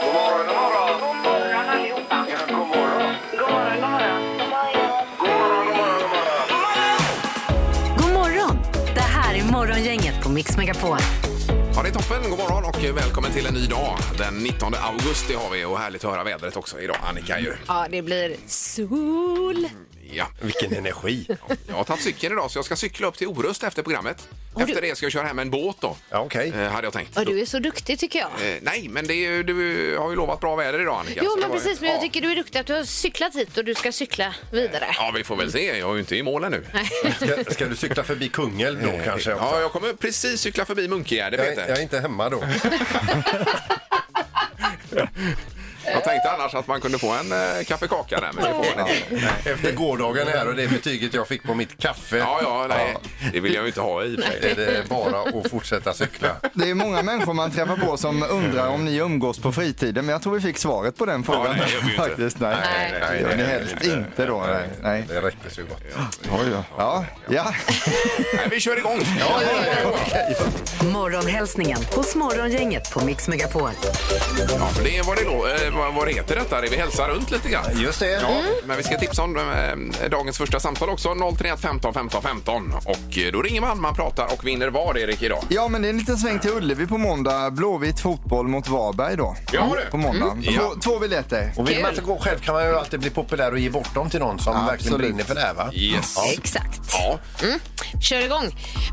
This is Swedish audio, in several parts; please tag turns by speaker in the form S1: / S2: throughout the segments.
S1: God morgon, god morgon.
S2: God morgon allihopa.
S1: Ja, god morgon.
S2: God morgon, god morgon.
S1: God morgon, god morgon, god morgon.
S3: God morgon! Det här är Morgongänget på Mix Megapol.
S4: Ja, det är toppen. God morgon och välkommen till en ny dag. Den 19 augusti har vi och härligt att höra vädret också idag. Annika ju.
S5: Ja, det blir sol.
S4: Ja.
S6: Vilken energi.
S4: Jag har tagit cykeln idag så jag ska cykla upp till Orust efter programmet. Efter det ska jag köra hem en båt då.
S6: Ja, okej.
S4: Eh, hade jag tänkt.
S5: Ja, du är så duktig tycker jag.
S4: Eh, nej, men det är, ju- du har ju lovat bra väder idag Annika.
S5: Jo,
S4: Så det
S5: men
S4: var ju-
S5: precis. Men jag
S4: ja.
S5: tycker du är duktig att du har cyklat hit och du ska cykla vidare.
S4: Ja, vi får väl se. Jag är ju inte i mål ännu.
S6: Ska, ska du cykla förbi Kungälv då kanske? också?
S4: Eh. Ja, jag kommer precis cykla förbi Munkegärde,
S6: jag, är-
S4: Peter.
S6: jag är inte hemma då.
S4: Jag tänkte annars att man kunde få en eh, kaffekaka där, men det får man inte.
S6: Efter gårdagen här och det betyget jag fick på mitt kaffe.
S4: Ja, ja, nej. Det vill jag ju inte ha i och för sig.
S6: Är det bara att fortsätta cykla?
S7: Det är många människor man träffar på som undrar om ni umgås på fritiden, men jag tror vi fick svaret på den frågan.
S4: Ja, nej, det gör vi ju inte.
S7: Faktiskt, nej.
S5: Nej,
S7: nej, nej,
S6: det-
S7: helst inte då. Nej, nej.
S6: Det räcker så gott.
S7: Oj, då. ja. ja.
S4: Nej, vi kör igång!
S3: Morgonhälsningen hos Morgongänget på Mix Megapol.
S4: Ja, för det är vad det, lå- eh, vad, vad det heter detta. Det vi hälsar runt lite grann.
S6: Just det.
S4: Ja, men vi ska tipsa om eh, dagens första samtal också. 031 15 15 15. Och eh, då ringer man, man pratar och vinner vad, Erik, idag?
S7: ja, men det är en liten sväng till Ullevi på måndag. Blåvitt fotboll mot Varberg då.
S4: Ja, du.
S7: På måndag.
S4: Mm.
S7: Två, två biljetter.
S6: Och vill man inte gå själv kan man ju alltid bli populär och ge bort dem till någon som verkligen
S7: Absolut.
S6: brinner för det här va?
S4: Yes.
S5: Exakt.
S4: Ja.
S5: Kör igång.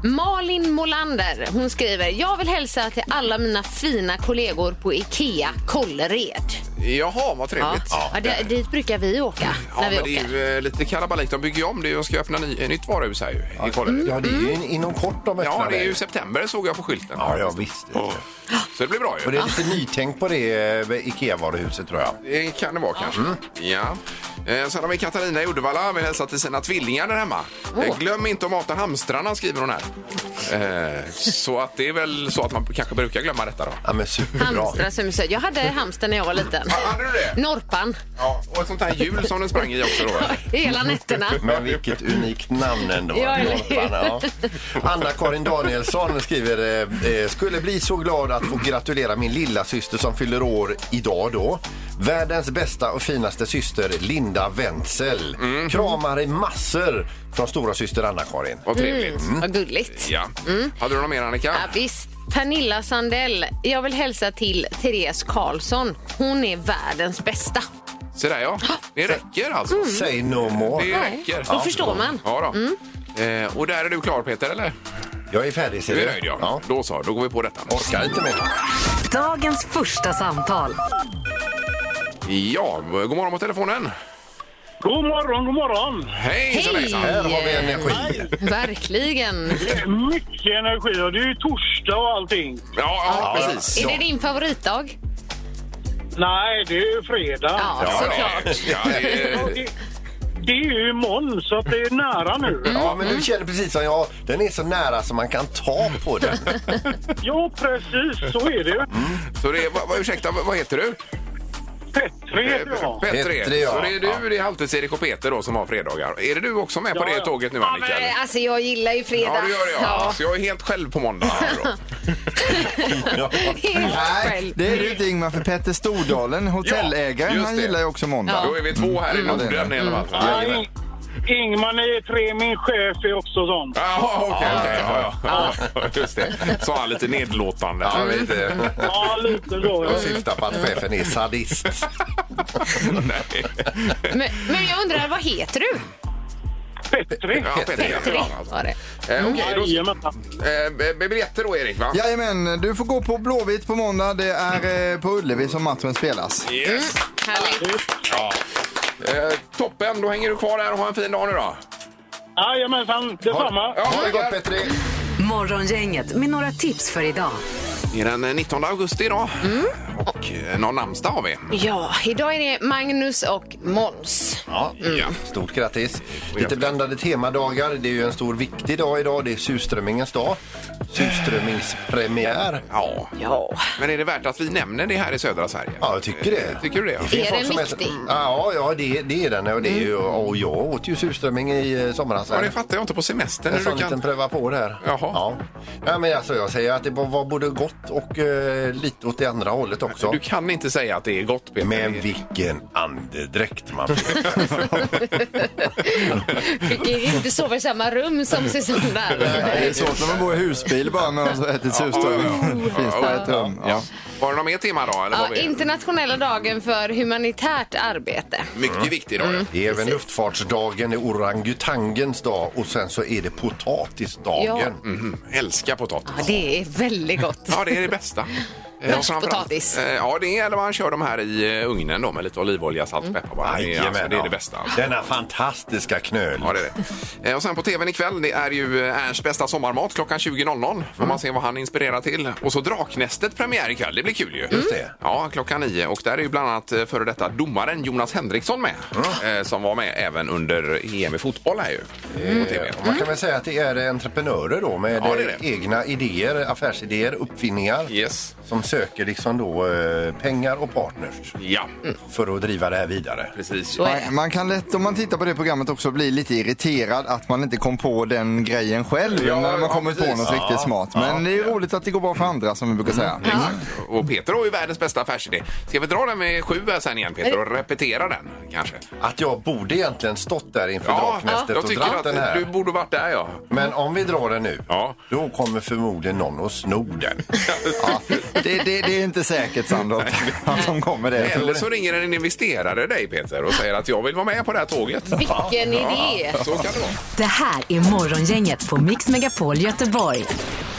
S5: Malin Molander, hon skriver Jag vill hälsa till alla mina fina kollegor på IKEA Kållered.
S4: Jaha, vad
S5: Ja.
S4: trevligt. Eh,
S5: Ja, det, dit brukar vi åka
S4: Mm. Ja,
S5: när vi
S4: men det är
S5: åker.
S4: ju eh, lite kalabalik. De bygger ju om. Det är ju- De ska öppna ny, eh, nytt varuhus här ju, i
S5: Mm.
S4: Kållered.
S6: Ja, det är ju in, inom kort de öppnar
S4: Mm. Ja, det är
S6: där.
S4: ju september såg jag på skylten.
S6: Ja, ja visst.
S4: Åh. Så det blir bra
S6: Och
S4: ju.
S6: det är lite nytänk på det eh, IKEA-varuhuset tror jag.
S4: Det Eh, kan det vara kanske. Ja. Eh, Sen har vi Katarina i Uddevalla. Vill hälsa till sina tvillingar där hemma. Eh, Glöm inte att mata hamstrarna, skriver hon här. Eh, så att det är väl så att man kanske brukar glömma detta då.
S6: Ja, men superbra.
S5: Hamstra som du säger. Jag hade hamster när jag var liten.
S4: Hade du det?
S5: Norpan.
S4: Ja, och ett sånt här hjul som den sprang i också då.
S5: Hela nätterna.
S6: Men vilket unikt namn ändå.
S5: Ja, eller hur?
S6: Norparna, ja. Anna-Karin Danielsson skriver eh, eh, Skulle bli så glad att få gratulera min lilla syster som fyller år idag då. Världens bästa och finaste syster Linda Wenzel. Kramar i massor från stora syster Anna-Karin.
S4: Vad trevligt.
S5: Vad gulligt.
S4: Mm. Ja. Hade du något mer Annika?
S5: Ja, visst. Pernilla Sandell, jag vill hälsa till Therese Karlsson. Hon är världens bästa.
S4: Se där ja. Det räcker alltså.
S6: Say no more.
S4: Det räcker.
S5: Då förstår man.
S4: Ja då. Eh, och där är du klar Peter eller?
S6: Jag är färdig ser
S4: Du är nöjd ja.
S6: ja.
S4: Då så, då går vi på detta.
S6: Orkar inte mer.
S3: Dagens första samtal.
S4: Ja, god morgon på telefonen.
S8: God morgon, god morgon!
S4: Hej! hejsan, hejsan.
S6: Här har vi energi.
S5: Verkligen.
S8: Det är mycket energi och det är ju torsdag och allting.
S4: Ja, ja, precis.
S5: Är det din favoritdag?
S8: Nej, det är ju fredag.
S5: Ja,
S4: Ja,
S5: såklart.
S4: det- Ja,
S8: Och
S4: det,
S8: Det, det är ju imorgon så att det är nära nu.
S6: Ja, men du känner precis som jag. Den är så nära som man kan ta på den.
S8: Ja, precis så är det ju.
S4: så det, vad, vad- ursäkta, vad vad heter du?
S8: Petter heter jag.
S4: Petri.
S6: Petri, ja.
S4: Så det är du, det är Halvtids-Erik och Peter då som har fredagar. Är det du också med på
S8: Ja,
S4: det
S8: ja.
S4: tåget nu Annika?
S5: Ja, men, alltså, jag gillar ju fredag.
S4: Ja, det gör det ja. Så jag är helt själv på måndag. här då.
S6: Ja.
S5: Helt
S7: Nej,
S5: själv.
S7: det är det ju inte Ingmar, för Petter Stordalen, hotellägaren,
S4: just
S7: han
S4: det.
S7: gillar ju också måndag.
S4: Då är vi två här i Norden i alla fall.
S8: Ja, Ing- Ingmar ni är tre, min chef är också sån.
S4: Jaha, okej. okej. Ja, ja. Just det. Sa han lite nedlåtande.
S6: Ja, lite.
S8: Ja, lite så.
S6: Jag syftar på att chefen är sadist.
S4: Nej.
S5: Men, men jag undrar, vad heter du?
S8: Petri.
S4: Ja, Petri. Ja, alltså.
S5: Var det.
S4: Eh, Okej, då-
S8: Jajamän.
S4: eh, b- biljetter då Erik va?
S7: Jajamän, du får gå på Blåvitt på måndag. Det är eh, på Ullevi som matchen spelas.
S4: Yes.
S6: Mm.
S5: Härligt.
S4: Ja. Eh, toppen, då hänger du kvar där och har en fin dag nu då.
S8: Jajamensan, detsamma.
S4: Ja,
S6: Ha det gott Petri!
S3: Morgongänget med några tips för idag.
S4: Det är den eh, 19 augusti idag
S6: Mm.
S4: och eh, någon namnsdag har vi.
S5: Ja, idag är det Magnus och Måns.
S6: Ja,
S4: Ja.
S6: Stort grattis! Lite blandade temadagar. Det är ju en stor viktig dag idag. Det är surströmmingens dag. surströmmingspremiär.
S4: Ja. Men är det värt att vi nämner det här i södra Sverige?
S6: Ja, jag tycker det.
S4: Eh, Tycker du det?
S6: Det finns
S5: Är
S6: folk
S5: den
S6: som
S5: viktig?
S6: Ja, ja det, det är den. Och, det är ju, och jag åt ju surströmming i eh, somras.
S4: Mm. Ja, det fattar jag inte på semestern.
S6: En
S4: Hur
S6: sån
S4: du
S6: liten
S4: kan...
S6: pröva på där.
S4: Jaha.
S6: Ja. Nej, men alltså, jag säger att det var var både gott och eh, lite åt det andra hållet också.
S4: du kan inte säga att det är gott, Peter.
S6: Men vilken andedräkt man fick.
S5: Fick ju inte sova i samma rum som Susanne där.
S7: Det är svårt när man bor i husbil bara med att ha ätit surströmming. Det finns bara ett rum. Ja.
S4: Var det någon mer tema då? Eller var
S5: Ja,
S4: vi...
S5: internationella dagen för humanitärt arbete.
S4: Mycket viktig idag. Mm.
S6: Det är även luftfartsdagen, det är orangutangens dag och sen så är det potatisdagen. Mm.
S5: Ja.
S4: Mm. Älskar potatis.
S5: Ja, det är väldigt gott.
S4: Ja, det är det bästa. Eh,
S5: Färsk
S4: och framförallt-
S5: potatis.
S4: eh, Ja, det är när man kör de här i eh, ugnen då med lite olivolja, salt, peppar bara. Det, är-
S6: Jajamän,
S4: alltså, det är
S6: ja.
S4: det bästa.
S6: Denna fantastiska knöl.
S4: Ja, det är det. Eh, Och sen på tvn ikväll, det är ju eh, Ernsts bästa sommarmat klockan 20.00. Får
S6: Mm.
S4: man se vad han inspirerar till. Och så Draknästet premiär ikväll, det blir kul ju. Just
S6: det.
S4: Ja, klockan 9. Och där är ju bland annat eh, före detta domaren Jonas Henriksson med. Eh, Som var med även under EM i fotboll här ju. På tv.
S6: Och Man kan väl säga att det är entreprenörer då med
S4: Ja, det är det.
S6: eh, egna idéer, affärsidéer, uppfinningar
S4: Yes.
S6: som söker liksom då eh, pengar och partners
S4: Ja,
S6: för att driva det här vidare.
S4: precis.
S5: Så är
S7: Man, man kan lätt, om man tittar på det programmet också, bli lite irriterad att man inte kom på den grejen själv.
S4: Ja,
S7: när man
S4: ja,
S7: kommit på
S4: precis.
S7: något riktigt smart. Men det är ju roligt att det går bra för andra som vi brukar säga.
S4: Och Peter har ju världens bästa affärsidé. Ska vi dra den med sju här sen igen Peter och repetera den kanske?
S6: Att jag borde egentligen stått där inför Draknästet
S4: jag
S6: och
S4: tycker
S6: dratt den
S4: att
S6: här.
S4: du borde varit där ja.
S6: Men om vi drar den nu,
S4: Ja.
S6: då kommer förmodligen någon och snor den.
S7: Ja, Mm. det, det, det är inte säkert Sandholt att de kommer det.
S4: Eller så ringer en investerare dig Peter och säger att jag vill vara med på det här tåget.
S5: Vilken idé!
S4: Ja, så kan det vara.
S3: Det här är Morgongänget på Mix Megapol Göteborg.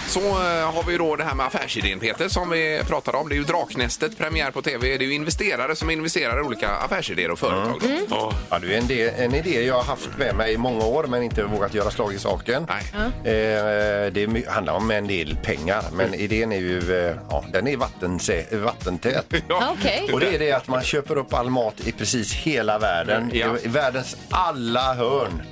S4: Så eh, har vi ju då det här med affärsidén Peter som vi pratade om. Det är ju Draknästet, premiär på tv. Det är ju investerare som investerar i olika affärsidéer och företag. då.
S6: Mm.
S4: Ja.
S6: Ja, det är en, del, en idé jag har haft med mig i många år men inte vågat göra slag i saken.
S4: Nej.
S6: Eh, det är my- handlar om en del pengar men idén är ju eh, ja, den är vattensä- vattentät.
S5: Ja, Okej.
S6: Och det är det att man köper upp all mat i precis hela världen.
S4: Ja.
S6: I världens alla hörn.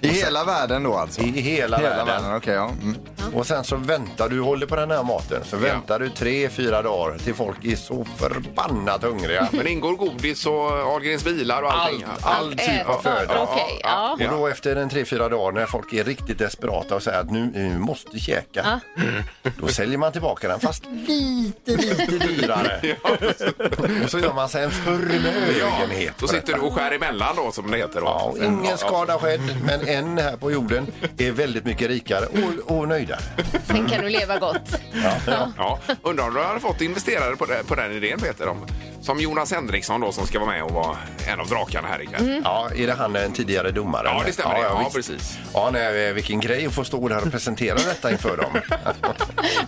S7: I hela världen då alltså?
S6: I hela,
S7: Hela
S6: världen.
S7: världen, okej. ja. Mm.
S6: Och sen så väntar du, håller på den här maten, så väntar du tre, fyra dagar till folk är så förbannat hungriga.
S4: Men det ingår godis och Ahlgrens bilar och allting.
S6: Allt, all typ av
S5: Äta.
S6: föda.
S5: Eh, Okej, ja.
S6: Och då efter en tre, fyra dagar när folk är riktigt desperata och säger att nu, nu måste vi käka. Då säljer man tillbaka den fast lite, lite dyrare. Och så gör man sig en förmögenhet.
S4: Då
S6: på
S4: sitter
S6: detta.
S4: du och skär emellan då som det heter. Då.
S6: Ja, och ingen skada skedd, men en här på jorden är väldigt mycket rikare och, och nöjdare.
S5: Sen kan du leva gott.
S4: Ja, undrar om du hade fått investerare på, det, på den idén Peter? Om, som Jonas Henriksson då som ska vara med och vara en av drakarna här ikväll.
S6: Ja, är det han en tidigare domare?
S4: Mm. Ja, det stämmer. Ja,
S6: visst.
S4: precis.
S6: Ja, nej, eh, vilken grej att få stå där och presentera detta inför dem. Och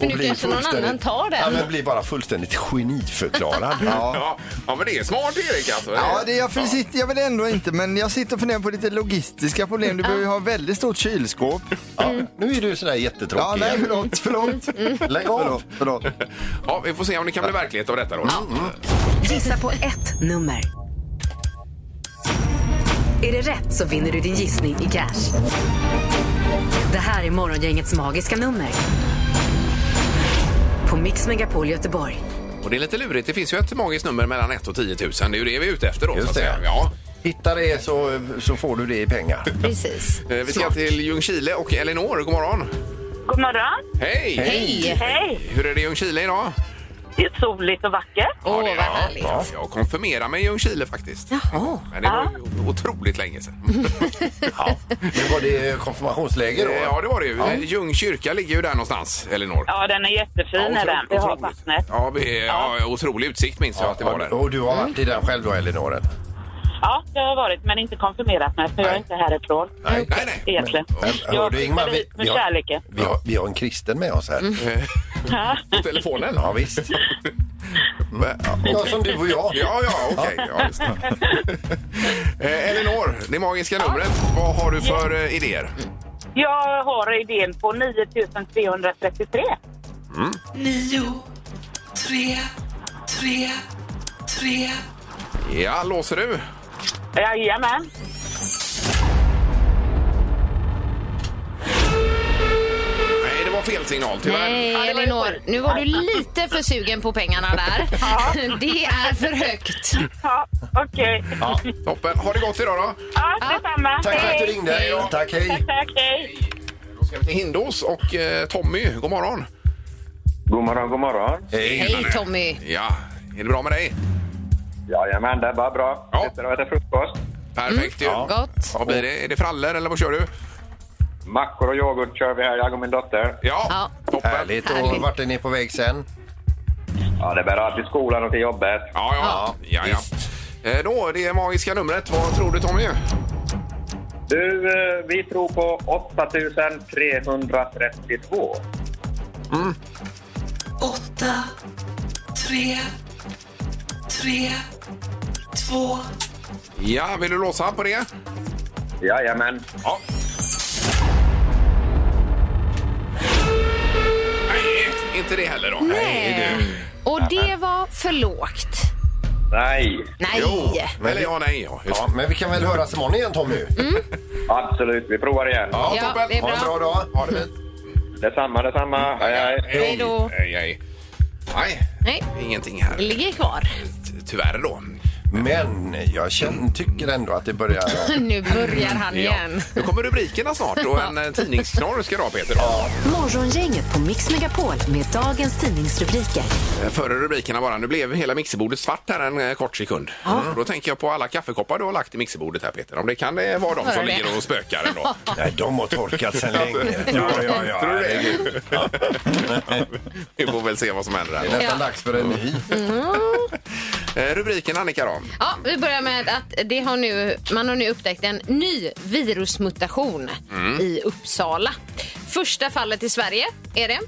S5: Men nu
S6: bli
S5: kanske någon
S6: fullständigt-
S5: annan tar den.
S6: Ja, men bli bara fullständigt geniförklarad. ja.
S4: Ja. ja, men det är smart Erik alltså.
S7: Ja, det, jag, för- sitter, jag vill ändå inte, men jag sitter och funderar på lite logistiska problem. Du behöver ju ha väldigt stort kylskåp.
S6: Nu är du sådär jättetråkig.
S7: Ja, nej, förlåt, förlåt.
S6: Lägg av!
S7: Förlåt, förlåt.
S4: Ja, vi får se om det kan bli verklighet av detta då. Mm.
S3: Gissa på ett nummer. Är det rätt så vinner du din gissning i cash. Det här är Morgongängets magiska nummer. På Mix Megapol Göteborg.
S4: Och det är lite lurigt. Det finns ju ett magiskt nummer mellan 1 och 10 000. Det är ju det vi är ute efter då.
S6: Just
S4: så att
S6: det.
S4: säga. Ja.
S6: Hitta det så, så får du det i pengar.
S5: Precis.
S4: Eh, Vi ska till Ljungskile och Elinor, god morgon.
S2: God morgon.
S4: Hej!
S5: Hej!
S2: Hej.
S4: Hur är det i Ljungskile idag?
S2: Det är soligt och vackert.
S5: Åh,
S4: det-
S5: vad härligt.
S4: Ja, jag konfirmerade mig i Ljungskile faktiskt.
S5: Jaha.
S4: Men det var ju otroligt länge sedan.
S6: Ja. Nu var det konfirmationsläger då.
S4: Eh, Ja, det var det ju. Ja. Ljung kyrka ligger ju där någonstans, Elinor.
S2: Ja, den är jättefin är den. Vi har
S4: otroligt.
S2: vattnet.
S4: Ja, vi, ja. otrolig utsikt minns jag att det var där.
S6: Och du har varit i den själv då, Elinor?
S2: Ja, det har jag varit, men inte konfirmerat mig för jag är inte härifrån
S4: Nej, nej. nej.
S2: egentligen.
S6: Men, hör
S2: Jag
S6: du, Ingmar,
S2: flyttade
S6: vi,
S2: hit med
S6: vi, har,
S2: kärleken.
S6: vi, har, vi har en kristen med oss här.
S4: På telefonen?
S6: Ja, visst. Ja, som du och jag.
S4: Ja, ja, okej. Ja, just det. eh, Elinor, det magiska numret. Vad har du för eh, idéer?
S2: Jag har idén på 9333.
S4: Ja, låser du?
S2: Jajamän.
S4: Nej, det var fel signal tyvärr.
S5: Nej,
S2: Ja, det var ju
S5: Elinor.
S2: sjukt.
S5: Nu var du lite för sugen på pengarna där.
S2: Ja.
S5: Det är för högt.
S2: Ja, okej.
S4: Ja, toppen. Ha det gott idag då.
S2: Ja, detsamma.
S6: Tack för att du
S2: Hej.
S6: ringde. Tack, hej.
S2: Tack, tack. Hej.
S4: Då ska vi till Hindås och eh, Tommy, god morgon.
S1: God morgon, god morgon.
S5: Hej Tommy.
S4: Ja, är det bra med dig?
S1: Jajamän, det är bara bra.
S4: Ja.
S1: Sitter och äter frukost.
S4: Perfekt ju. Ja.
S5: Mm, Gott.
S4: Vad blir det? Är det frallor eller vad kör du?
S1: Mackor och yoghurt kör vi här, jag och min dotter.
S4: Ja,
S5: Ja.
S4: toppen.
S6: Härligt. Och
S5: Härligt.
S6: vart är ni på väg sen?
S1: Ja, det bär till skolan och till jobbet.
S4: Ja, ja. ja, ja. Eh, Då, det magiska numret. Vad tror du Tommy?
S1: Du, eh, vi tror på 8332.
S9: 8, 3, 3, 2,
S4: Ja, vill du låsa på det?
S1: Jajamän.
S4: Ja. Nej, inte det heller då.
S5: Nej. Och det var för lågt.
S1: Nej,
S5: Nej.
S4: Jo, eller ja, nej. Ja, just.
S6: Ja, men vi kan väl höras imorgon igen Tommy?
S1: absolut. Vi provar igen.
S4: ja,
S5: Ja,
S4: toppen.
S5: det är
S6: Ha en
S5: bra.
S6: bra dag.
S4: Ha det fint.
S1: Detsamma, detsamma. Hej, hej.
S5: Hej då.
S4: Hej, hej. Nej,
S5: Nej,
S4: ingenting här.
S5: det ligger kvar.
S4: Ty- Tyvärr då.
S6: Men jag känner, tycker ändå att det börjar...
S5: Nu börjar han igen.
S4: Nu kommer rubrikerna snart och en eh, tidningsknorr ska du ha Peter. Ja.
S3: Morgongänget på Mix Megapol med dagens tidningsrubriker.
S4: Före rubrikerna bara. Nu blev hela mixerbordet svart här en eh, kort sekund. Mm. Då tänker jag på alla kaffekoppar du har lagt i mixerbordet här Peter. Om det kan eh, vara de
S5: Hör
S4: som
S5: det.
S4: ligger och spökar ändå.
S6: Nej, de har torkat sen länge. Ja, ja, ja.
S4: Tror du det?
S6: herregud.
S4: Vi får väl se vad som händer
S6: Det är
S4: där.
S6: nästan dags för en ny.
S4: Eh, Rubriken Annika då.
S5: Ja, vi börjar med att det har nu, man har nu upptäckt en ny virusmutation i Uppsala. Första fallet i Sverige är det.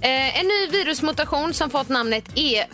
S5: Eh, en ny virusmutation som fått namnet E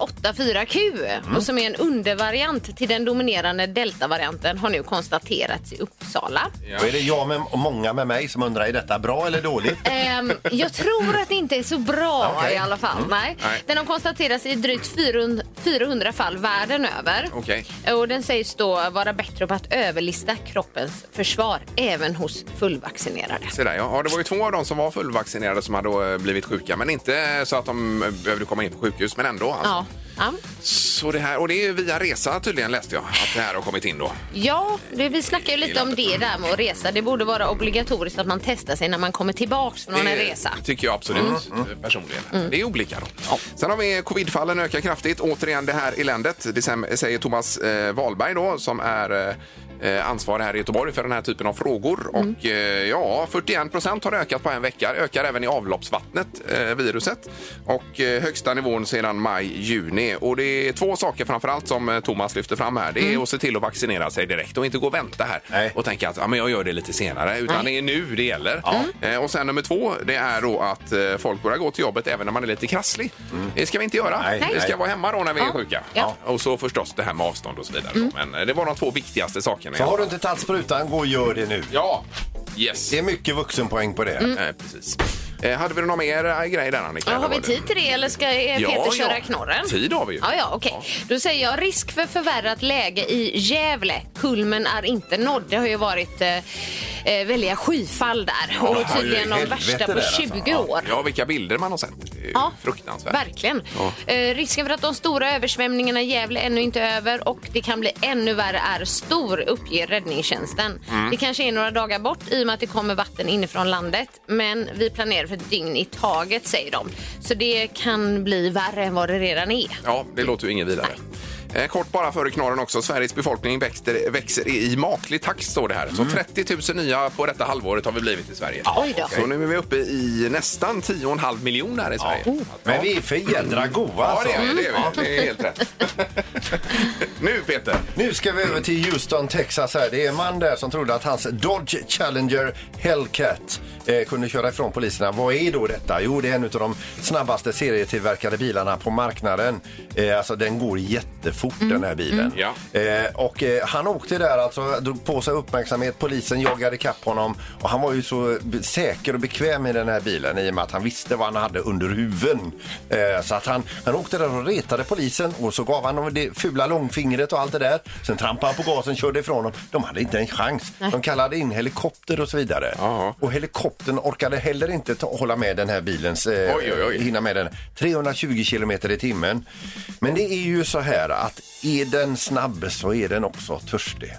S5: E484Q och som är en undervariant till den dominerande deltavarianten har nu konstaterats i Uppsala.
S6: Och är det jag med, och många med mig som undrar, är detta bra eller dåligt?
S5: Ehm, jag tror att det inte är så bra
S6: Okej.
S5: i alla fall. Nej.
S4: Mm. Nej.
S5: Den har konstaterats i drygt 400 400 fall världen över.
S4: Okej.
S5: Och den sägs då vara bättre på att överlista kroppens försvar även hos fullvaccinerade.
S4: Se där, ja. ja, det var ju två av dem som var fullvaccinerade som hade eh, blivit sjuka. Men inte eh, så att de eh, behövde komma in på sjukhus, men ändå. Alltså.
S5: Ja. Ja.
S4: Så det här, och det är ju via resa tydligen läste jag att det här har kommit in då.
S5: ja, det, vi snackar ju lite om det där med att resa. Det borde vara obligatoriskt att man testar sig när man kommer tillbaka från en
S4: Det
S5: resa. Mm.
S4: tycker jag absolut eh, personligen. Det är olika då. Sen har vi covidfallen ökar kraftigt. Återigen det här eländet. Det säm- säger Thomas eh, Wahlberg då som är eh, eh, ansvarig här i Göteborg för den här typen av frågor.
S5: Mm.
S4: Och eh, ja, 41 procent har ökat på en vecka. Ökar även i avloppsvattnet, eh, viruset. Och eh, högsta nivån sedan maj-juni. Och det är två saker framförallt som eh, Thomas lyfter fram här. Det
S5: Mm.
S4: är att se till att vaccinera sig direkt och inte gå och vänta här
S6: Nej.
S4: och tänka att ja, men jag gör det lite senare. Utan det är nu det gäller.
S5: Mm.
S4: Eh, och sen nummer två, det är då att eh, folk börjar gå till jobbet även när man är lite krasslig. Det ska vi inte göra.
S6: Nej,
S4: Vi ska
S6: nej.
S4: vara hemma då när vi är
S5: Mm. Ja.
S4: sjuka.
S5: Ja. Mm.
S4: Och så förstås det här med avstånd och så vidare. Men eh, det var de två viktigaste sakerna.
S6: Så har du inte tagit sprutan, gå och gör det nu.
S4: Ja, yes.
S5: Mm.
S6: Det är mycket vuxenpoäng på det.
S4: Eh, precis. Eh, hade vi någon mer eh, grej där Annika?
S5: Ja,
S4: eller
S5: har vi
S4: var det-
S5: tid till det eller ska eh,
S4: Ja,
S5: Peter köra
S4: ja.
S5: knorren?
S4: Tid har vi ju.
S5: Ja, ja, okej. Då säger jag risk för förvärrat läge i Gävle. Kulmen är inte nådd. Det har ju varit eh, eh, väldiga skyfall där
S4: det
S5: och
S4: har ju
S5: tydligen de
S6: helvete
S5: värsta på
S6: där alltså.
S5: 20 år.
S4: Ja, vilka bilder man har sett. Det är ju
S5: Ja,
S4: Fruktansvärt.
S5: Verkligen. Eh, risken för att de stora översvämningarna i Gävle ännu inte är över och det kan bli ännu värre är stor, uppger räddningstjänsten. Det kanske är några dagar bort i och med att det kommer vatten inifrån landet. Men vi planerar för ett dygn i taget, säger de. Så det kan bli värre än vad det redan är.
S4: Ja, det låter ju ingen vidare. Eh, Kort bara före knorren också. Sveriges befolkning växer, växer i maklig takt står det här. Så 30 000 nya på detta halvåret har vi blivit i Sverige.
S5: Oj då.
S4: Så nu är vi uppe i nästan 10,5 miljoner här i Sverige.
S6: Men vi är för jädra goa
S4: Ja,
S6: alltså.
S4: det är, vi, det, är vi. det är helt rätt. nu Peter!
S6: Nu ska vi över till Houston, Texas. Här. Det är en man där som trodde att hans Dodge Challenger Hellcat eh, kunde köra ifrån poliserna. Vad är då detta? Jo, det är en av de snabbaste serietillverkade bilarna på marknaden. Eh, alltså, den går jättefort. fort den här bilen.
S4: Ja.
S6: Eh, och eh, han åkte där alltså, drog på sig uppmärksamhet, polisen jagade ikapp honom och han var ju så b- säker och bekväm i den här bilen i och med att han visste vad han hade under huven. Eh, så att han, han åkte där och retade polisen och så gav han dem det fula långfingret och allt det där. Sen trampade han på gasen, körde ifrån dem. De hade inte en chans. De kallade in helikopter och så vidare.
S4: Ja.
S6: Och helikoptern orkade heller inte ta, hålla med den här bilens eh,
S4: Oj, oj, oj.
S6: hinna med den. 320 kilometer i timmen. Men det är ju så här att är den snabb så är den också törstig.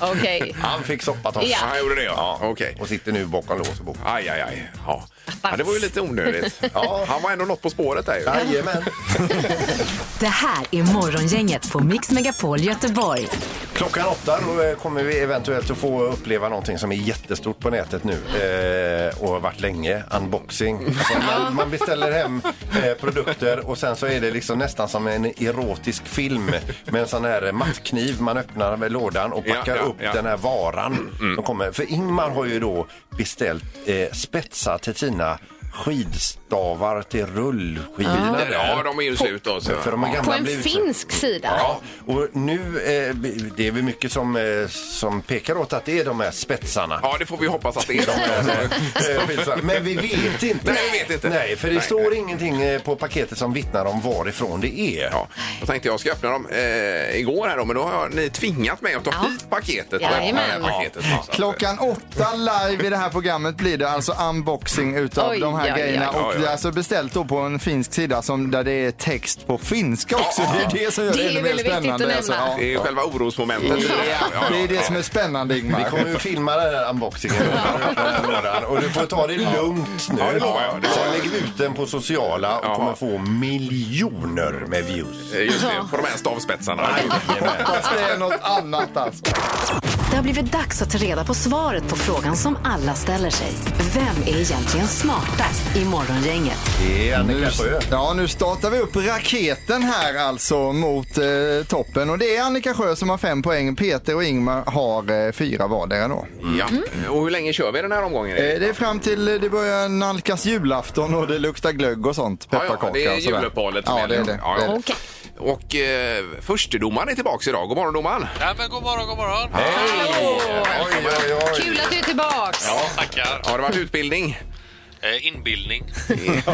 S5: Okej.
S6: Han fick soppatoff.
S5: Ja.
S4: Han gjorde det, ja.
S6: Ja.
S4: Okej.
S6: Och sitter nu bakom lås och bom.
S4: Aj, aj, aj. Ja. ja, det var ju lite onödigt. ja. Han var ändå något på spåret där ju.
S6: Jajamän.
S3: Det här är Morgongänget på Mix Megapol Göteborg.
S6: Klockan åtta då eh, kommer vi eventuellt att få uppleva någonting som är jättestort på nätet nu eh, och har varit länge. Unboxing. Alltså man, man beställer hem eh, produkter och sen så är det liksom nästan som en erotisk film med en sån här eh, mattkniv. Man öppnar med lådan och
S4: Ja,
S6: packar
S4: ja,
S6: upp
S4: ja. Mm.
S6: den här varan som kommer. För Ingmar har ju då beställt eh, spetsar till sina skidstavar till rullskidorna. där.
S4: Ja, de är ju slut då. Så.
S6: För de här gamla
S5: På en
S6: blir ju så-
S5: finsk sida.
S6: Ja, och nu eh, det är väl mycket som, eh, som pekar åt att det är de här spetsarna.
S4: Ja, det får vi hoppas att det är de.
S6: Eh, skitsam. Men vi vet inte.
S4: Nej, vi vet inte.
S6: Nej, för det
S4: Nej,
S6: står ingenting eh, på paketet som vittnar om varifrån det är.
S4: Ja, då tänkte jag ska öppna dem eh, igår här då, men då har ni tvingat mig att ta
S5: Ja.
S4: hit paketet. och öppna
S5: Jajamän.
S4: det här paketet. Ja.
S7: Klockan åtta live i det här programmet blir det alltså unboxing utav
S5: Oj,
S7: de här
S5: oj, oj.
S7: grejerna.
S4: Ja,
S7: Och
S4: ja.
S7: det är alltså beställt då på en finsk sida som, där det är text på finska också. Det är det som gör det,
S5: Det är
S7: ännu mer
S5: väldigt viktigt att
S7: spännande. Alltså,
S5: nämna.
S7: ja.
S4: Det är själva orosmomentet.
S7: Det är det som är spännande
S6: Vi
S7: Ingmar.
S6: kommer ju filma den här unboxingen och du får ta det lugnt nu.
S4: Ja, det lovar jag. Det lovar
S6: Sen
S4: jag.
S6: lägger vi ut den på sociala och
S4: Jaha.
S6: kommer få miljoner med views.
S4: Eh, Just det, på de här stavspetsarna.
S7: Hoppas det är något annat alltså.
S3: Det har blivit dags att ta reda på svaret på frågan som alla ställer sig. Vem är egentligen smartast i Morgongänget?
S6: Det är Annika
S7: Nu,
S6: Sjö.
S7: ja, nu startar vi upp raketen här alltså mot eh, toppen. Och det är Annika Sjö som har fem poäng. Peter och Ingmar har eh, fyra vardera då.
S4: Mm. Ja.
S5: Mm.
S4: Och hur länge kör vi den här omgången?
S7: Eh, det är fram till eh, det börjar nalkas julafton och det luktar glögg och sånt.
S4: Ja, ja,
S7: Pepparkakor
S4: det är
S7: och sådär.
S4: juluppehållet som
S7: Ja, det är
S4: gäller.
S7: det.
S4: Ja, ja.
S7: det är det.
S5: Okej.
S4: Och eh, förstedomaren är tillbaka idag. God morgon domaren!
S10: Ja, men god morgon, god morgon.
S6: Oj, oj, oj.
S5: Kul att du är tillbaks.
S10: Tackar.
S4: Har det varit utbildning?
S10: Eh, inbildning.
S7: Eh,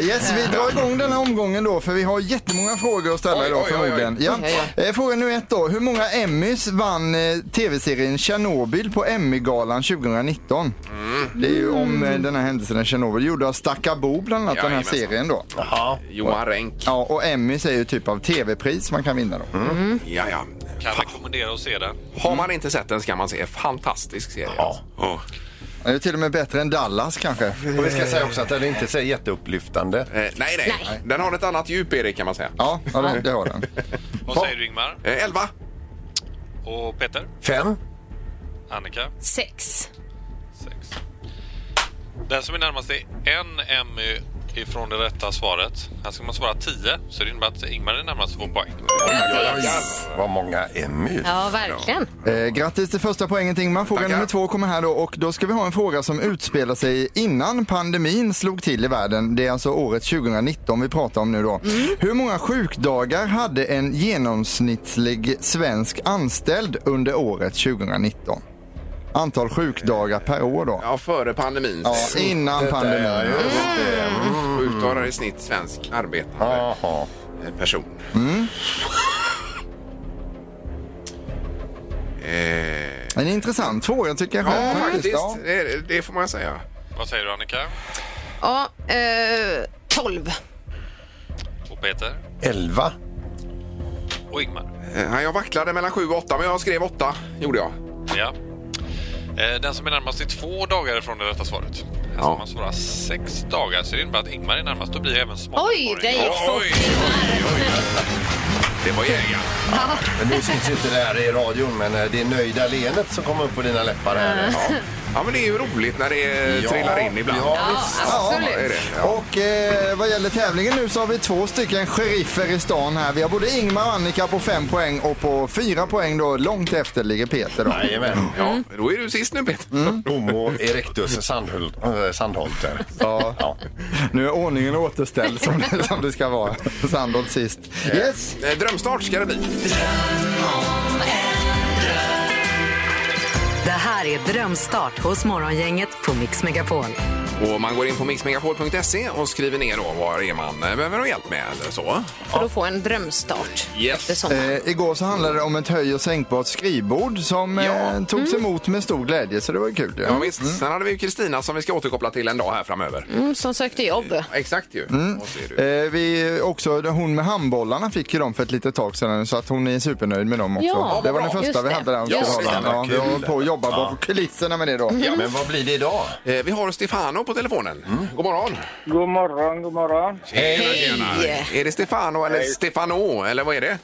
S7: Yes, vi drar igång den här omgången då för vi har jättemånga frågor att ställa
S4: Oj,
S7: idag
S4: oj, oj, oj.
S7: förmodligen. Ja.
S5: Oj, oj,
S7: Eh, Fråga nu ett då. Hur många Emmys vann eh, tv-serien Tjernobyl på Emmygalan 2019?
S4: Mm.
S7: Det är ju om eh, den här händelsen i Tjernobyl. Gjord av Stakka Bo bland annat den här
S4: Jajamensan.
S7: serien då.
S6: Ja.
S4: Johan Renck.
S7: Ja, och Emmys är ju typ av tv-pris man kan vinna
S4: Mm.
S7: då.
S4: Ja, ja.
S10: Kan rekommendera att se den.
S4: Har man inte sett den ska man se. Fantastisk serie.
S6: Ja.
S4: alltså.
S7: Det är ju Eh, till och med bättre än Dallas kanske.
S6: Och vi ska säga också att den är inte så jätteupplyftande.
S4: Eh, nej, nej, Den har ett annat djup, Erik, kan man säga.
S7: Ja, ja det, det har den.
S10: Vad säger du Ingmar?
S4: Eh, elva.
S10: Och Peter?
S6: Fem.
S10: Annika?
S5: Sex.
S10: Sex. Den som är närmast är en Emmy ifrån det rätta svaret. Här ska man svara tio, så det innebär att Ingmar är närmast och får poäng.
S6: Vad många Emmy.
S5: Ja, verkligen.
S7: Eh, grattis till första poängen till Ingmar. Fråga
S4: Tackar.
S7: nummer två kommer här då och då ska vi ha en fråga som utspelar sig innan pandemin slog till i världen. Det är alltså året 2019 vi pratar om nu då.
S4: Mm.
S7: Hur många sjukdagar hade en genomsnittlig svensk anställd under året 2019? Antal sjukdagar per år då.
S4: Ja, före pandemin.
S7: Ja,
S4: Ja.
S7: innan pandemin.
S4: Sjukdagar i snitt svensk arbetande
S6: Jaha.
S4: eh, person. Eh,
S7: En intressant fråga tycker jag
S4: ja,
S7: själv.
S4: faktiskt.
S7: Ja.
S4: Det, det får man säga.
S10: Vad säger du Annika?
S5: Ja, eh, tolv.
S10: Och Peter?
S6: Elva.
S10: Och Ingmar?
S4: Eh, jag vacklade mellan sju och åtta, men jag skrev åtta. Gjorde jag.
S10: Ja. Eh, Den som är närmast är två dagar ifrån det rätta svaret. Här ska
S4: Ja.
S10: man svara sex dagar, så det innebär att Ingmar är närmast. Då blir även smartare.
S5: Oj, det gick fort.
S4: Oj, oj, oj. Det var jägaren.
S6: Men nu syns inte det här i radion, men eh, det är nöjda leendet som kommer upp på dina läppar här. Ja.
S4: Ja, men det är ju roligt när det
S6: Ja,
S4: trillar in ibland.
S6: ja,
S5: Ja, visst. absolut.
S4: är det. Ja.
S7: Och eh, vad gäller tävlingen nu så har vi två stycken sheriffer i stan här. Vi har både Ingmar och Annika på fem poäng och på fyra poäng då långt efter ligger Peter då.
S6: Jajamän.
S4: Ja, då är du sist nu Peter.
S6: Mm. Homo erectus Sandhult, äh, Sandholter.
S7: Ja. Nu är ordningen återställd som det, som det ska vara. Sandholt sist. Yes!
S4: Eh, Drömstart ska det bli.
S3: Det här är Drömstart hos Morgongänget på Mix Megapol.
S4: Och man går in på mixmegapol.se och skriver ner då vad det är man eh, behöver ha hjälp med eller så.
S5: För att få en drömstart
S4: Yes.
S5: efter sommaren.
S7: Eh, igår så handlade det om ett höj och sänkbart skrivbord som eh, togs emot med stor glädje så det var ju kul.
S4: Ja,
S7: Ja.
S4: visst. Sen hade vi ju Kristina som vi ska återkoppla till en dag här framöver.
S5: Mm, som sökte jobb.
S4: Exakt ju. Och så är det ju.
S7: Eh, vi också, hon med handbollarna fick ju dem för ett litet tag sedan så att hon är supernöjd med dem också.
S5: Ja,
S7: det var den
S5: bra.
S7: första
S5: Just
S7: vi
S5: det. Mm.
S7: hade där hon
S5: Just
S7: skulle ha
S6: det.
S7: den. Ja, vi
S6: Kul.
S7: håller på att jobba bakom kulisserna med det då.
S6: Ja, men vad blir det idag?
S4: Eh, Vi har Stefano på telefonen. God morgon.
S8: God morgon, god morgon.
S5: Hej!
S4: Är det Stefano eller Stefano eller vad är det?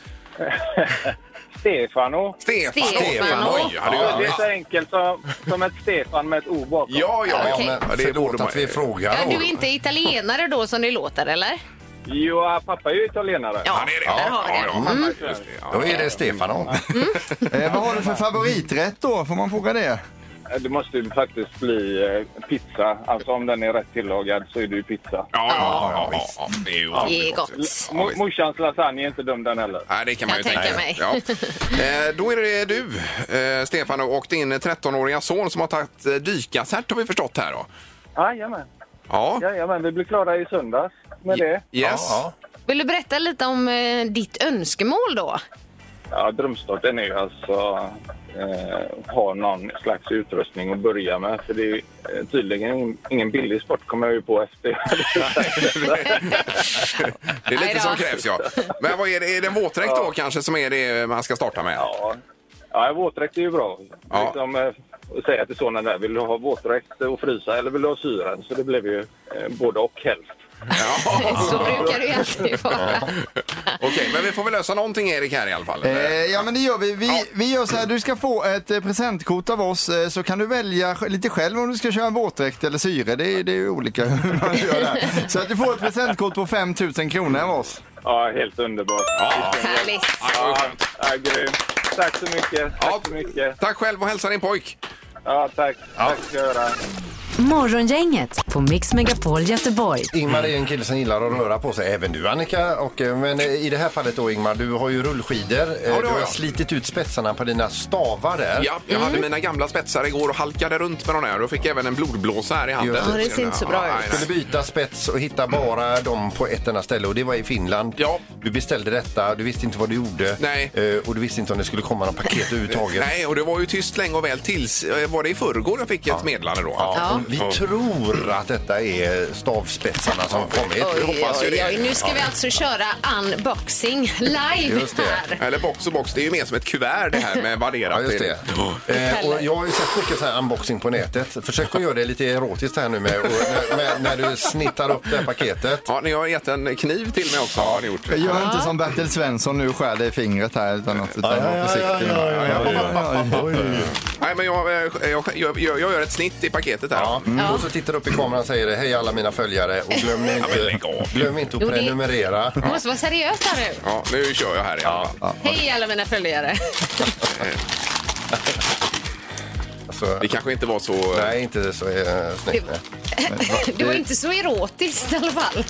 S8: Stefano.
S4: Stefano.
S5: Stefano.
S4: Oj, hade ju-
S8: Det är så enkelt som, som ett Stefan med ett O bakom.
S4: Ja, ja, ja.
S5: Okej.
S4: Men, ja, det
S6: Förlåt
S4: borde
S6: att
S4: man-
S6: vi frågar.
S5: Ja, du är
S6: Olof.
S5: inte italienare då som det låter, eller?
S8: Jo, pappa är ju italienare.
S4: Ja, det är det.
S5: där har vi
S4: ja,
S5: det.
S4: ja, just det. Ja.
S6: Då är det Mm. Stefano.
S7: Eh, vad har du för favoriträtt då? Får man fråga det?
S8: Det måste ju faktiskt bli eh, pizza. Alltså om den är rätt tillagad så är det ju pizza.
S4: Ja, ja, ja, ja, ja, det är ju
S5: Det är gott.
S4: Ja,
S8: Mo-
S4: visst.
S8: morsans lasagne är inte dum den heller.
S4: Nej, det kan man
S5: Jag
S4: ju tänka
S5: tänker
S4: Ja. Eh, Då är det du, eh, Stefan, och din 13-åriga son som har tagit eh, dykarcert har vi förstått här då.
S8: Jajamän,
S4: Ja.
S8: jajamän. Vi blir klara i söndags med det.
S4: Yes.
S6: Ja,
S5: Vill du berätta lite om eh, ditt önskemål då?
S8: Ja, drömstarten är ju alltså eh, ha någon slags utrustning att börja med. För det är ju, eh, tydligen ingen billig sport kommer jag ju på efter.
S4: Det är
S5: Nej
S4: lite
S5: då.
S4: som krävs, ja. Men vad är det? Är det en våtdräkt då kanske som är det man ska starta med?
S8: ja, ja våtdräkt är ju bra.
S4: Ja.
S8: Liksom, eh, att säga till sonen där, vill du ha våtdräkt och frysa eller vill du ha syren? Så det blev ju eh, både och helst.
S5: Så brukar det ju alltid vara.
S4: Okej, men vi får väl lösa någonting Erik här i alla fall.
S7: Eh, ja men det gör vi. Vi,
S4: Ja.
S7: vi gör så här, du ska få ett eh, presentkort av oss eh, så kan du välja sj- lite själv om du ska köra våtdräkt eller syre. Det, är- det är ju olika hur man gör där. Så att du får ett presentkort på 5 000 kronor av oss.
S8: Ja, helt underbart.
S4: Ja.
S5: Härligt.
S4: Ja, det var skönt.
S8: Ja, grymt. Tack så mycket. Tack
S4: Ja,
S8: så mycket.
S4: Tack själv och hälsa din pojk.
S8: Ja, tack. Tack ska jag göra.
S3: Morgongänget på Mix Megapol Göteborg.
S6: Ingmar är en kille som gillar att röra på sig, även du Annika. Och, eh, men eh, i det här fallet då Ingmar, du har ju rullskidor. Eh,
S4: har
S6: du har
S4: jag.
S6: slitit ut spetsarna på dina stavar där.
S4: Ja, jag hade mina gamla spetsar igår och halkade runt med de här och fick även en blodblåsa här i handen.
S6: Just det.
S5: Ja, det ser inte så bra
S4: Ja,
S5: ut.
S4: nej,
S6: skulle
S4: nej.
S6: byta spets och hitta bara dem på ett enda ställe och det var i Finland.
S4: Ja.
S6: Du beställde detta, du visste inte vad du gjorde
S4: Nej.
S6: Eh, och du visste inte om det skulle komma något paket överhuvudtaget.
S4: Nej, och det var ju tyst länge och väl tills, eh, var det i förrgår jag fick ett meddelande då?
S6: Ja, och Vi tror att detta är stavspetsarna som har kommit.
S5: Oj,
S4: hoppas ju
S5: oj,
S4: det.
S5: oj. Nu ska vi alltså köra unboxing live
S6: Just det.
S5: här.
S4: Eller box och box, det är ju mer som ett kuvert det här med värderat.
S6: Ja, just
S4: i.
S6: det. Eh, och jag har ju sett mycket så här unboxing på nätet. Försök att göra det lite erotiskt här nu med, och, med, med när du snittar upp det här paketet.
S4: Ja, ni har gett en kniv till mig också. Har ni gjort.
S7: Gör inte som Bertil Svensson nu och skär dig i fingret här utan att utan var försiktig.
S4: Nej, men jag, eh, jag, jag, jag gör ett snitt i paketet här.
S6: Ja. Och så tittar du upp i kameran och säger hej alla mina följare och glöm nu inte, glöm inte att
S5: Jo, det-
S6: prenumerera.
S5: Du måste vara seriös här nu.
S4: Ja, nu kör jag här i alla fall.
S5: Hej alla mina följare.
S6: Alltså,
S4: Det kanske inte var så...
S6: nej, inte så eh, snyggt. nej.
S5: Det var inte så erotiskt i alla fall.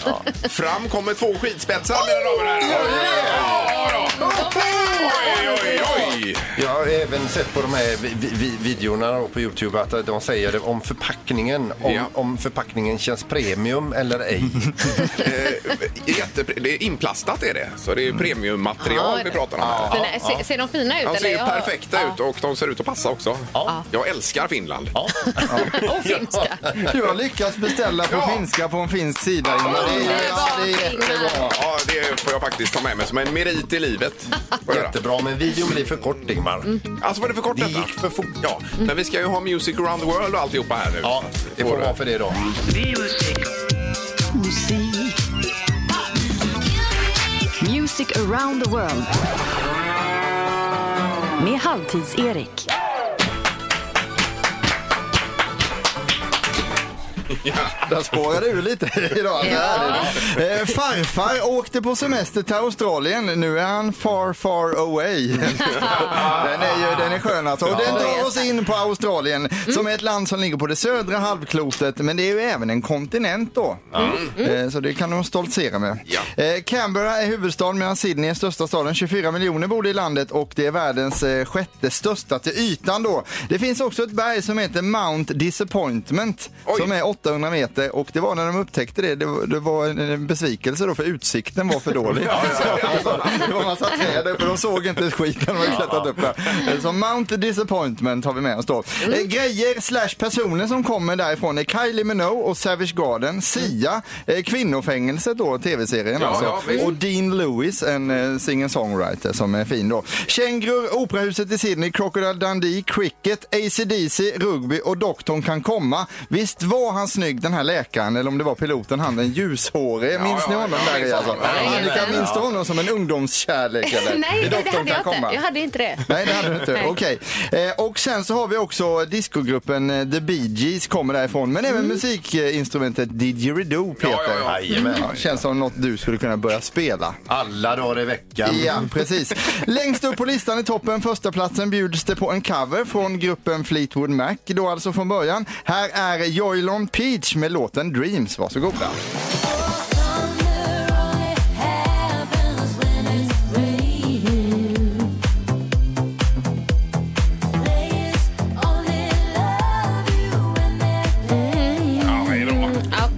S4: Fram kommer två skidspetsar, mina damer och herrar. Ja, då. Oj, oj, oj!
S6: Jag har även sett på de här vi, vi, vi, videorna då på Youtube att de säger det om förpackningen, om,
S4: Ja.
S6: om förpackningen känns premium eller ej.
S4: Eh, jätte, det är inplastat är det, så det är ju premiummaterial
S5: Ja,
S4: vi pratar om här.
S5: Fina, se, ser de fina ut?
S4: De ser ju
S5: eller?
S4: perfekta ut och de ser ut att passa också. Jag älskar Finland.
S5: Och finska.
S7: Du har lyckats beställa på
S4: Ja.
S7: finska på en finsk sida. Ingmar. Det är-
S5: Underbart,
S7: ja, det är jättebra.
S4: Ja, det får jag faktiskt ta med mig som en merit i livet. Får jag göra.
S6: Jättebra, men videon blir för kort, Ingmar.
S5: Mm.
S4: Alltså var det för kort
S6: Det
S4: detta?
S6: gick för fort.
S4: Ja, men vi ska ju ha Music around the world och alltihopa här nu.
S6: Ja, det får vara för det då.
S3: Music around the world. Med Halvtids-Erik.
S7: Den spårade ur lite idag.
S5: Ja.
S7: Eh, farfar åkte på semester till Australien. Nu är han far, far away. den är ju den är skön alltså. Och den drar oss in på Australien som är ett land som ligger på det södra halvklotet. Men det är ju även en kontinent då. Eh, så det kan de stoltsera med.
S4: Ja.
S7: Eh, Canberra är huvudstaden medan Sydney är största staden. 24 miljoner bor det i landet och det är världens eh, sjätte största till ytan då. Det finns också ett berg som heter Mount Disappointment
S4: Oj.
S7: som är 800 meter och det var när de upptäckte det, det var, det var en, en besvikelse då för utsikten var för dålig. det var massa träd uppe, de såg inte ett skit när de hade klättrat upp där. Eh, Så Mount Disappointment har vi med oss då. Eh, Grejer slash personer som kommer därifrån är Kylie Minogue och Savage Garden, Sia, eh, Kvinnofängelset då, tv-serien
S4: Ja,
S7: alltså.
S4: ja, visst.
S7: och Dean Lewis, en eh, singer-songwriter som är fin då. Kängurur, Operahuset i Sydney, Crocodile Dundee, Cricket, AC/DC, Rugby och Doktorn kan komma. Visst var han snygg den här läkaren, eller om det var piloten, han den ljushårige. Minns
S4: ja,
S7: ni honom
S4: ja,
S7: där i
S4: ja,
S7: alltså?
S4: ja, ja,
S7: Annika,
S5: ja.
S7: minns du honom som en ungdomskärlek eller?
S5: Nej,
S7: I
S5: det,
S7: Doktorn
S5: hade jag
S7: kan
S5: inte.
S7: komma.
S5: Jag hade inte det.
S7: Nej, det hade du inte.
S5: Nej.
S7: Okej. Eh, och sen så har vi också discogruppen eh, The Bee Gees kommer därifrån. Men även musikinstrumentet didgeridoo, Peter.
S4: Mm. Ja, ja, ja.
S6: Jajamän.
S7: Ja, Känns som något du skulle kunna börja spela.
S6: Alla dagar i veckan.
S7: Ja, precis. Längst upp på listan i toppen, första platsen bjuds det på en cover från gruppen Fleetwood Mac då alltså från början. Här är Joylon Peach med låten Dreams. Varsågoda.
S4: Ja, det är bra.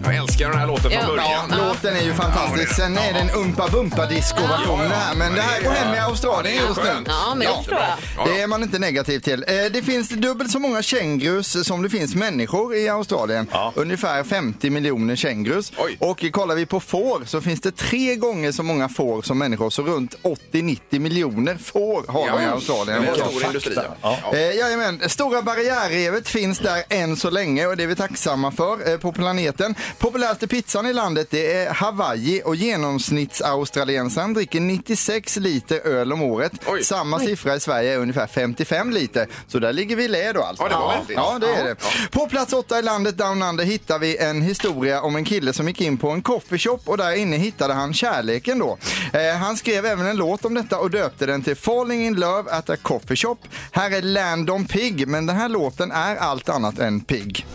S4: Jag älskar den här låten från
S5: Ja.
S4: början.
S7: Ja, låten är ju fantastisk. Sen är det en umpa bumpa disco version det här. Men det här går hem i Australien just nu.
S5: Ja, men det förstår jag.
S4: Ja,
S7: Det är man inte negativ till. Eh, Det finns dubbelt så många kängurus som det finns människor i Australien. Ungefär 50 miljoner kängurus.
S4: Oj.
S7: Och kollar vi på får så finns det tre gånger så många får som människor. Så runt 80-90 miljoner får har
S4: Ja,
S7: vi i
S4: ja.
S7: Australien.
S4: Det är en stor industri. Ja.
S7: Eh, jajamän, Stora barriärrevet finns där än så länge och det är vi tacksamma för eh, på planeten. Populäraste pizzan i landet det är Hawaii och genomsnittsaustraliensaren dricker 96 liter öl om året.
S4: Oj.
S7: Samma siffra i Sverige är ungefär 55 liter. Så där ligger vi i lä då alltså.
S4: Ja, det var väldigt.
S7: Ja, det är det. På plats åtta i landet Down Under hittar vi en historia om en kille som gick in på en coffeeshop och där inne hittade han kärleken då. Eh, han skrev även en låt om detta och döpte den till Falling in Love at a Coffee Shop. Här är Landon Pig, men den här låten är allt annat än pigg.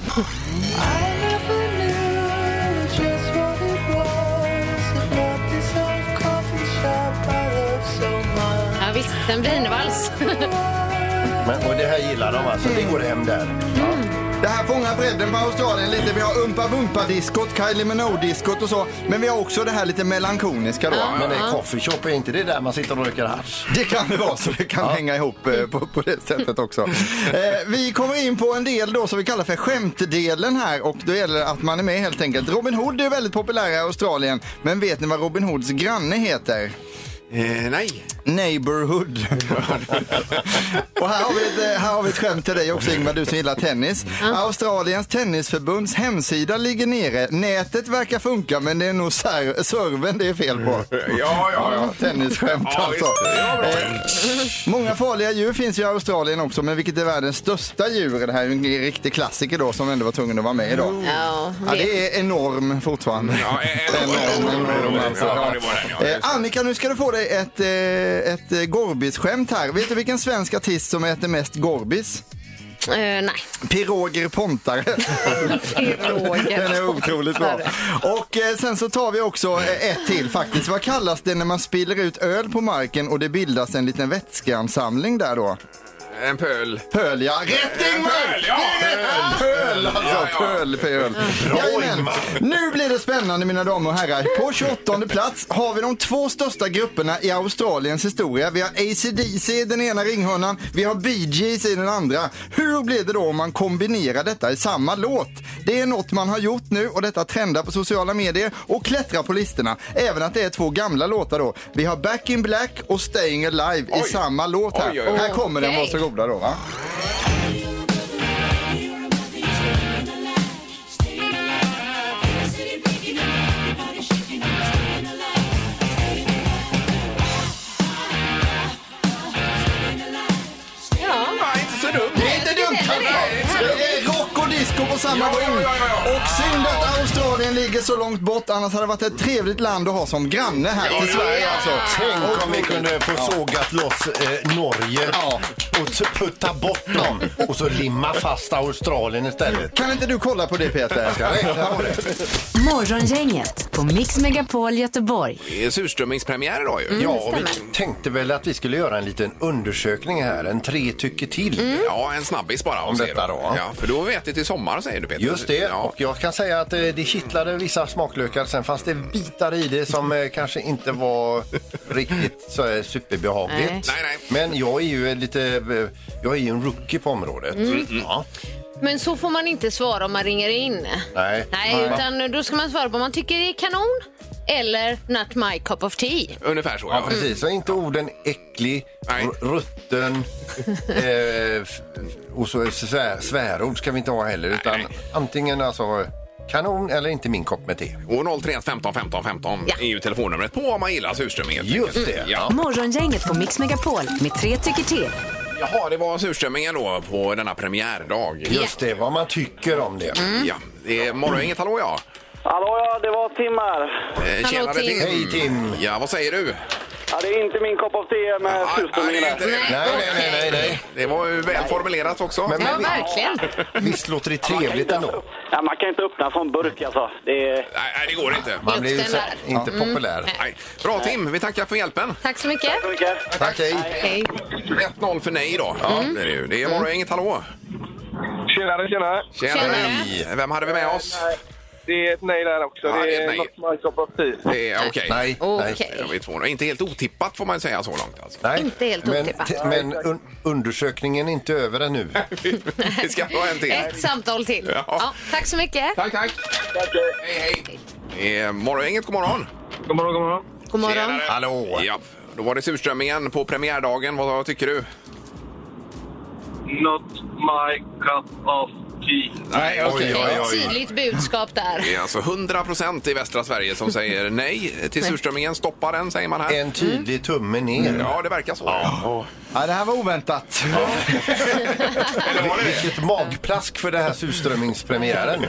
S5: Ja, visst, den blir en vals.
S6: Men, och det här gillar de alltså. Det går hem där.
S7: Det här fångar bredden på Australien lite. Vi har Umpa Bumpa-diskot, Kylie Minogue-diskot och så. Men vi har också det här lite melankoniska då.
S6: Men en coffee shop är inte det där man sitter och röker hasch?
S7: Det kan det vara, så det kan hänga ihop eh, på, på det sättet också. Eh, vi kommer in på en del då som vi kallar för skämtdelen här och då gäller det att man är med helt enkelt. Robin Hood är väldigt populär i Australien, men vet ni vad Robin Hoods granne heter?
S4: Eh, nej.
S7: Neighborhood. och här har, vi ett, eh, här har vi ett skämt till dig också Ingmar, du som gillar tennis. Australiens tennisförbunds hemsida ligger nere. Nätet verkar funka men det är nog ser- servern det är fel på.
S4: Ja, ja, ja.
S7: Tennisskämt
S4: Ja,
S7: alltså.
S4: visst. Ja, bra.
S7: Många farliga djur finns ju i Australien också, men vilket är världens största djur? Det här är ju en riktig klassiker då som ändå var tvungen att vara med idag.
S5: Ja,
S7: Ja,
S5: det-
S7: det är enorm fortfarande.
S4: Mm. Ja, eh, eh,
S7: alltså,
S4: ja,
S7: ja.
S4: det var den, ja.
S7: Eh, Annika, nu ska du få dig ett, eh, ett eh, Gorbis-skämt här. Vet du vilken svensk artist som äter mest Gorbis?
S5: Eh, nej.
S7: Piroger Pontare. Den är otroligt bra. Och eh, sen så tar vi också eh, ett till faktiskt. Vad kallas det när man spiller ut öl på marken och det bildas en liten vätskeansamling där då?
S4: En pöl.
S7: Pöl, ja. Rätt Ingmar!
S4: Pöl, ja!
S7: Pöl,
S4: Ja,
S7: alltså.
S4: ja.
S7: Pöl, pöl. Jajamän. Nu blir det spännande mina damer och herrar. På 28 plats har vi de två största grupperna i Australiens historia. Vi har ACDC i den ena ringhörnan, vi har Bee Gees i den andra. Hur blir det då om man kombinerar detta i samma låt? Det är något man har gjort nu och detta trendar på sociala medier och klättrar på listorna. Även att det är två gamla låtar då. Vi har Back in Black och Staying Alive i
S4: Oj.
S7: samma låt här.
S4: Oj, oj, oj.
S7: Här kommer den,
S5: Okej.
S7: varsågoda då va.
S5: Ja.
S4: Ja, inte så dumt.
S7: alltså. Det är inte dumt!
S5: Nej, det är
S7: Det är rock och disco på samma
S4: Ja, ja,
S7: gång.
S4: ja, ja, ja.
S7: Och Australien ligger så långt bort, annars hade det varit ett trevligt land att ha som granne här till Sverige alltså.
S6: Tänk om vi kunde få sågat loss eh, Norge
S7: Ja.
S6: och t- putta bort dem och så limma fast Australien istället.
S7: Kan inte du kolla på det Peter?
S3: Morgongänget på Mix Megapol Göteborg.
S4: Det är surströmmingspremiär idag
S5: Mm.
S4: ju.
S6: Ja, och vi tänkte väl att vi skulle göra en liten undersökning här, en tre tycker till.
S4: Ja, en snabbis bara. Om
S6: detta då.
S4: Ja, för då har vi ätit till sommar säger du Peter.
S6: Just det,
S4: Ja.
S6: och jag kan säga att eh, det kittlade vissa smaklökar. Sen fanns det bitar i det som eh, kanske inte var riktigt så här superbehagligt.
S5: Nej.
S4: Nej, nej.
S6: Men jag är ju en lite, eh, jag är ju en rookie på området. Ja.
S5: Men så får man inte svara om man ringer in.
S6: Nej.
S5: Nej, utan då ska man svara på om man tycker det är kanon eller not my cup of tea.
S4: Ungefär så
S6: Ja,
S4: ja.
S6: precis. Så inte orden äcklig,
S4: Nej.
S6: r- rutten eh, f- och så svär, svärord ska vi inte ha heller. Utan
S4: nej.
S6: antingen alltså kanon eller inte min kopp med te.
S4: Och 031 15 15 15
S5: Ja.
S4: är ju telefonnumret på om man gillar surströmming helt
S6: Just
S4: enkelt.
S6: det.
S4: Ja.
S3: Morgongänget på Mix Megapol med tre tycker till.
S4: Jaha, det var surströmmingen då på denna premiärdag.
S6: Just det, vad man tycker om det.
S4: Ja. Det är morgongänget, hallå ja.
S8: Hallå ja, det var Tim här.
S4: Eh, tjenare,
S5: Tim.
S6: Hej, Tim.
S4: Ja, vad säger du?
S8: Ja, det är inte min kopp av te
S4: Ja,
S8: med
S4: ja, det, är inte
S8: surströmmingen.
S4: det.
S6: Nej, nej, nej, nej, nej.
S4: det var ju väl formulerat också.
S6: Men-
S5: Ja,
S6: vi-
S5: verkligen.
S6: Visst låter det trevligt ändå?
S8: Ja, man kan inte öppna en sån burk alltså. Det är...
S4: Nej, nej, det går inte.
S6: Man blir ju
S5: Lukten
S6: så,
S5: där.
S6: inte populär.
S4: Mm. Nej. Bra Tim, vi tackar för hjälpen.
S5: Tack så mycket.
S8: Tack så mycket.
S6: Tack, hej.
S5: Hej.
S4: 1-0 för nej idag. Ja, det är det ju. Det är morgongänget, hallå.
S8: Tjenare, tjenare.
S4: Tjenare.
S6: Tjenare.
S4: Vem hade vi med oss?
S8: Det är ett nej där också.
S4: Ja, det är ett nej.
S8: något my cup of tea.
S4: Det är Okej.
S6: Nej, nej.
S5: Okej.
S4: Då har vi två. Inte helt otippat får man ju säga så långt alltså.
S6: nej.
S5: Inte helt
S6: men,
S5: otippat.
S6: t- men un undersökningen är inte över ännu.
S4: Vi ska ha en till.
S5: Ett samtal till.
S4: Ja.
S5: Ja, tack så mycket.
S4: Tack, tack. Hej, hej. Det är morgongänget, god morgon.
S8: God morgon, god morgon.
S5: God morgon.
S6: Hallå.
S4: Ja, då var det surströmmingen på premiärdagen. Vad tycker du?
S8: Not my cup of tea.
S4: Nej,
S6: Oj, oj,
S5: Ett
S6: oj.
S5: tydligt budskap där.
S4: Det är alltså 100 procent i västra Sverige som säger nej till surströmmingen. Stoppa den, säger man här.
S6: En tydlig tumme ner.
S4: Mm. Ja, det verkar så. Ja.
S7: Ja, det här var oväntat.
S6: Vilket magplask för den här surströmmingspremiären.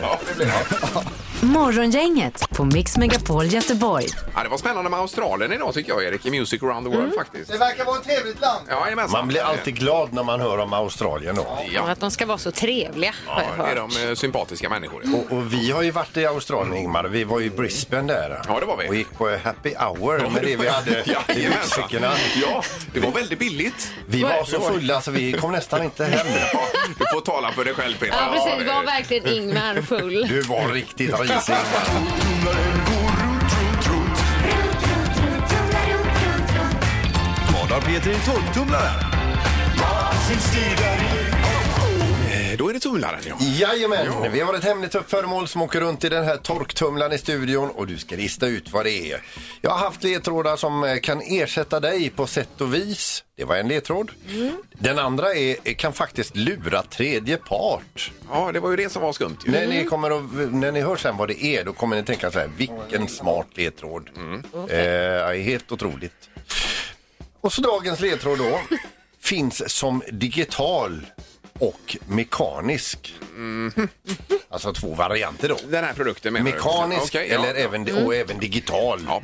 S3: Morgongänget på Mix Megapol Göteborg.
S4: Ja, det var spännande med Australien idag tycker jag, Erik, i Music around the world faktiskt.
S7: Det verkar vara ett trevligt land.
S4: Ja, jajamensan.
S6: Mm. Man blir alltid glad när man hör om Australien då.
S5: Och
S4: Ja,
S5: att de ska vara så trevliga. har jag
S4: ja det är
S5: hört.
S4: de eh, sympatiska människor.
S6: Och, och vi har ju varit i Australien, Ingmar. Vi var ju i Brisbane där.
S4: Ja, det var vi.
S6: Och gick på happy hour med det vi hade i
S4: Jajamensan.
S6: byxfickorna.
S4: Ja, det var väldigt billigt.
S6: Vi var så fulla så vi kom nästan inte hem.
S4: Ja, Du får tala för dig själv, Peter.
S5: Ja, precis.
S4: det-
S5: Var verkligen Ingmar full.
S6: Du var riktigt risig.
S4: Eh, Då är det tumlaren, ja.
S6: Jajamän, vi har ett hemligt föremål som åker runt i den här torktumlaren i studion och du ska lista ut vad det är. Jag har haft ledtrådar som eh, kan ersätta dig på sätt och vis. Det var en ledtråd. Den andra är, eh, kan faktiskt lura tredje part.
S4: Ja, det var ju det som var skumt. Ju.
S6: När, ni kommer att, när ni hör sen vad det är, då kommer ni tänka så här, vilken smart ledtråd.
S4: Mm.
S6: Eh, helt otroligt. Och så dagens ledtråd då, finns som digital och mekanisk. Alltså två varianter då.
S4: Den här produkten Mm. menar du?
S6: Mekanisk
S4: Okej,
S6: eller
S4: ja. Mm.
S6: även, och även digital.
S4: Ja.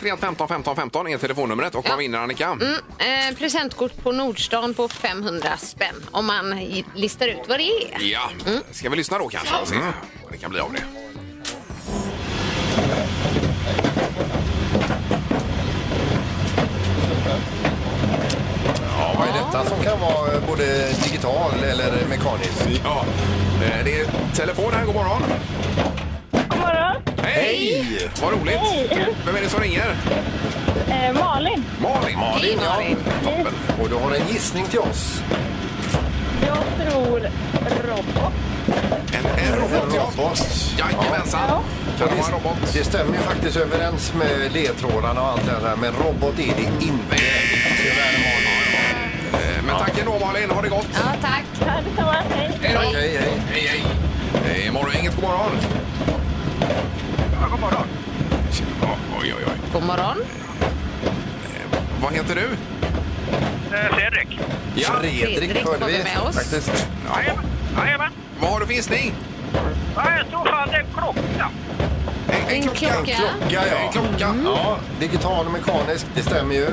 S4: 031 15 15 15 är telefonnumret och man vinner Annika.
S5: Eh, presentkort på Nordstan på 500 spänn om man i- listar ut vad det är.
S4: Ja,
S5: Mm.
S4: ska vi lyssna då kanske och se vad det kan bli av det.
S6: Ja, vad är detta som kan vara eh, både digital eller mekanisk?
S4: Ja, eh, det är telefon här. God morgon!
S2: God morgon.
S4: Hej!
S6: Hej!
S4: Vad roligt!
S2: Hej.
S4: Vem är det som ringer?
S2: Eh, Malin.
S4: Malin!
S5: Hej, Malin.
S4: Toppen!
S6: Och du har en gissning till oss.
S2: Jag tror robot.
S4: En, en robot, ja. Jajamensan! Kan det vara en robot?
S6: Det stämmer ju faktiskt överens med ledtrådarna och allt det där, men robot är det inte.
S4: Eh, Men tack ändå Malin, ha det gott!
S5: Ja, tack.
S2: Ja, detsamma. Hej.
S4: Hej då!
S6: Hej, hej.
S4: Hej, hej! Det är morgongänget, god morgon!
S8: God morgon.
S4: Ja, Oj, oj, oj.
S5: God morgon.
S4: Vad heter du?
S8: Fredrik.
S4: Ja.
S5: Fredrik
S6: hörde
S5: var
S6: vi
S5: med oss.
S6: faktiskt.
S4: Ja.
S8: Jajamän.
S4: Vad har du för gissning?
S2: Ja, i så fall en klocka.
S4: En,
S5: En klocka.
S6: Klocka, ja.
S4: En klocka.
S6: Ja, digital och mekanisk, det stämmer ju.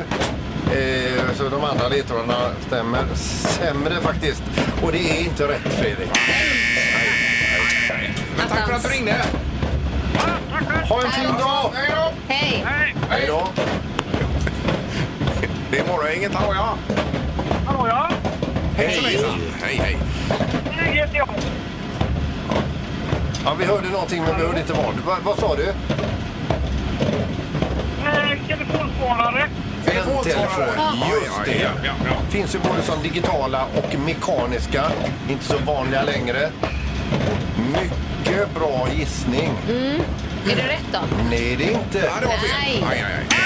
S6: Eh, så de andra ledtrådarna stämmer sämre faktiskt. Och det är inte rätt, Fredrik.
S4: Men tack för att du ringde.
S2: Ja, tackar.
S6: Ha en fin dag!
S4: Hej då!
S5: Hej!
S2: Hej.
S6: Hej då!
S4: Det är Morgongänget. Hallå ja!
S2: Hallå, ja.
S4: Hejsan hejsan! Hej hej!
S2: Det heter jag.
S6: Ja, vi hörde någonting men vi hörde inte vad. Va, vad sa du?
S2: Eh, Telefonsvarare.
S6: Just det.
S4: Ja, ja, ja.
S6: Finns ju både som digitala och mekaniska. Inte så vanliga längre. Mycket bra gissning.
S5: Är det rätt då?
S6: Nej, det är inte.
S4: Mm. Ja, det var fel.
S5: Nej.
S4: Aj, aj, aj. Ja.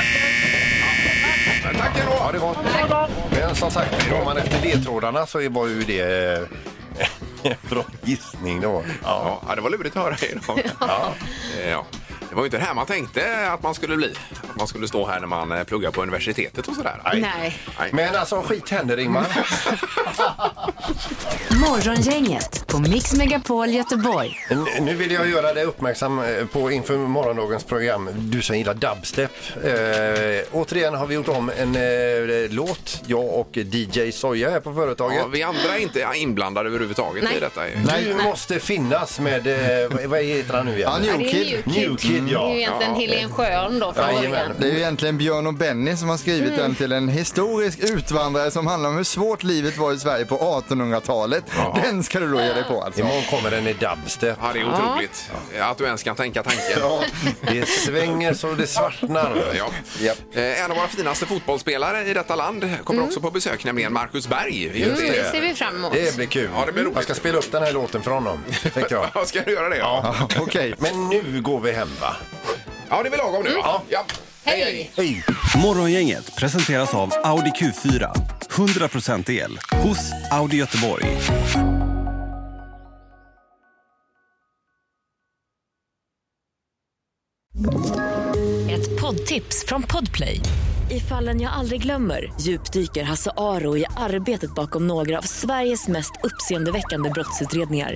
S4: Men Tack ändå!
S6: Ja, det var... Men som sagt, går man efter ledtrådarna så var ju det eh, en bra gissning. Då. Ja.
S4: Ja, det var lurigt att höra idag. Ja. Ja. Det var ju inte det här man tänkte att man skulle bli. Att man skulle stå här när man eh, pluggar på universitetet och sådär.
S5: Nej.
S6: Men alltså, skit händer, Ingmar.
S11: Morgongänget på Mix Megapol Göteborg.
S6: N- Nu vill jag göra dig uppmärksam eh, på inför morgondagens program, du som gillar dubstep. Eh, återigen har vi gjort om en eh, låt, jag och DJ Soja här på företaget.
S4: Ja, vi andra är inte inblandade överhuvudtaget
S5: Nej.
S4: i detta.
S6: Du måste finnas med, eh, vad- vad heter han nu igen?
S7: Ja, New
S5: Ja, det är
S7: Kid.
S5: ju
S6: New Kid,
S5: Det är ju
S6: ja.
S5: egentligen Helen Sjöholm då från
S6: Jajamän.
S5: början.
S7: Det är ju egentligen Björn och Benny som har skrivit den till en historisk utvandrare som handlar om hur svårt livet var i Sverige på 1800-talet. Den ska du då ge dig på alltså.
S6: Imorgon kommer den i dubstep.
S4: Ja, det är otroligt att du ens kan tänka tanken.
S6: Ja, det svänger så det svartnar.
S4: Ja.
S6: Japp.
S4: Eh, En av våra finaste fotbollsspelare i detta land kommer också på besök, nämligen Marcus Berg.
S5: Mm, det ser vi fram emot.
S6: Det blir kul.
S4: Ja, det blir roligt.
S6: Jag ska spela upp den här låten för honom, tänkte jag.
S4: Ja, Ska du göra det? Ja,
S7: Ja, Okej.
S6: Men nu går vi hem, va?
S4: ja det är väl lagom nu? va? Ja.
S5: Hej!
S6: Hej!
S2: Morgongänget presenteras av Audi Q4. 100% el hos Audi Göteborg.
S3: Ett poddtips från Podplay. I fallen jag aldrig glömmer djupdyker Hasse Aro i arbetet bakom några av Sveriges mest uppseendeväckande brottsutredningar.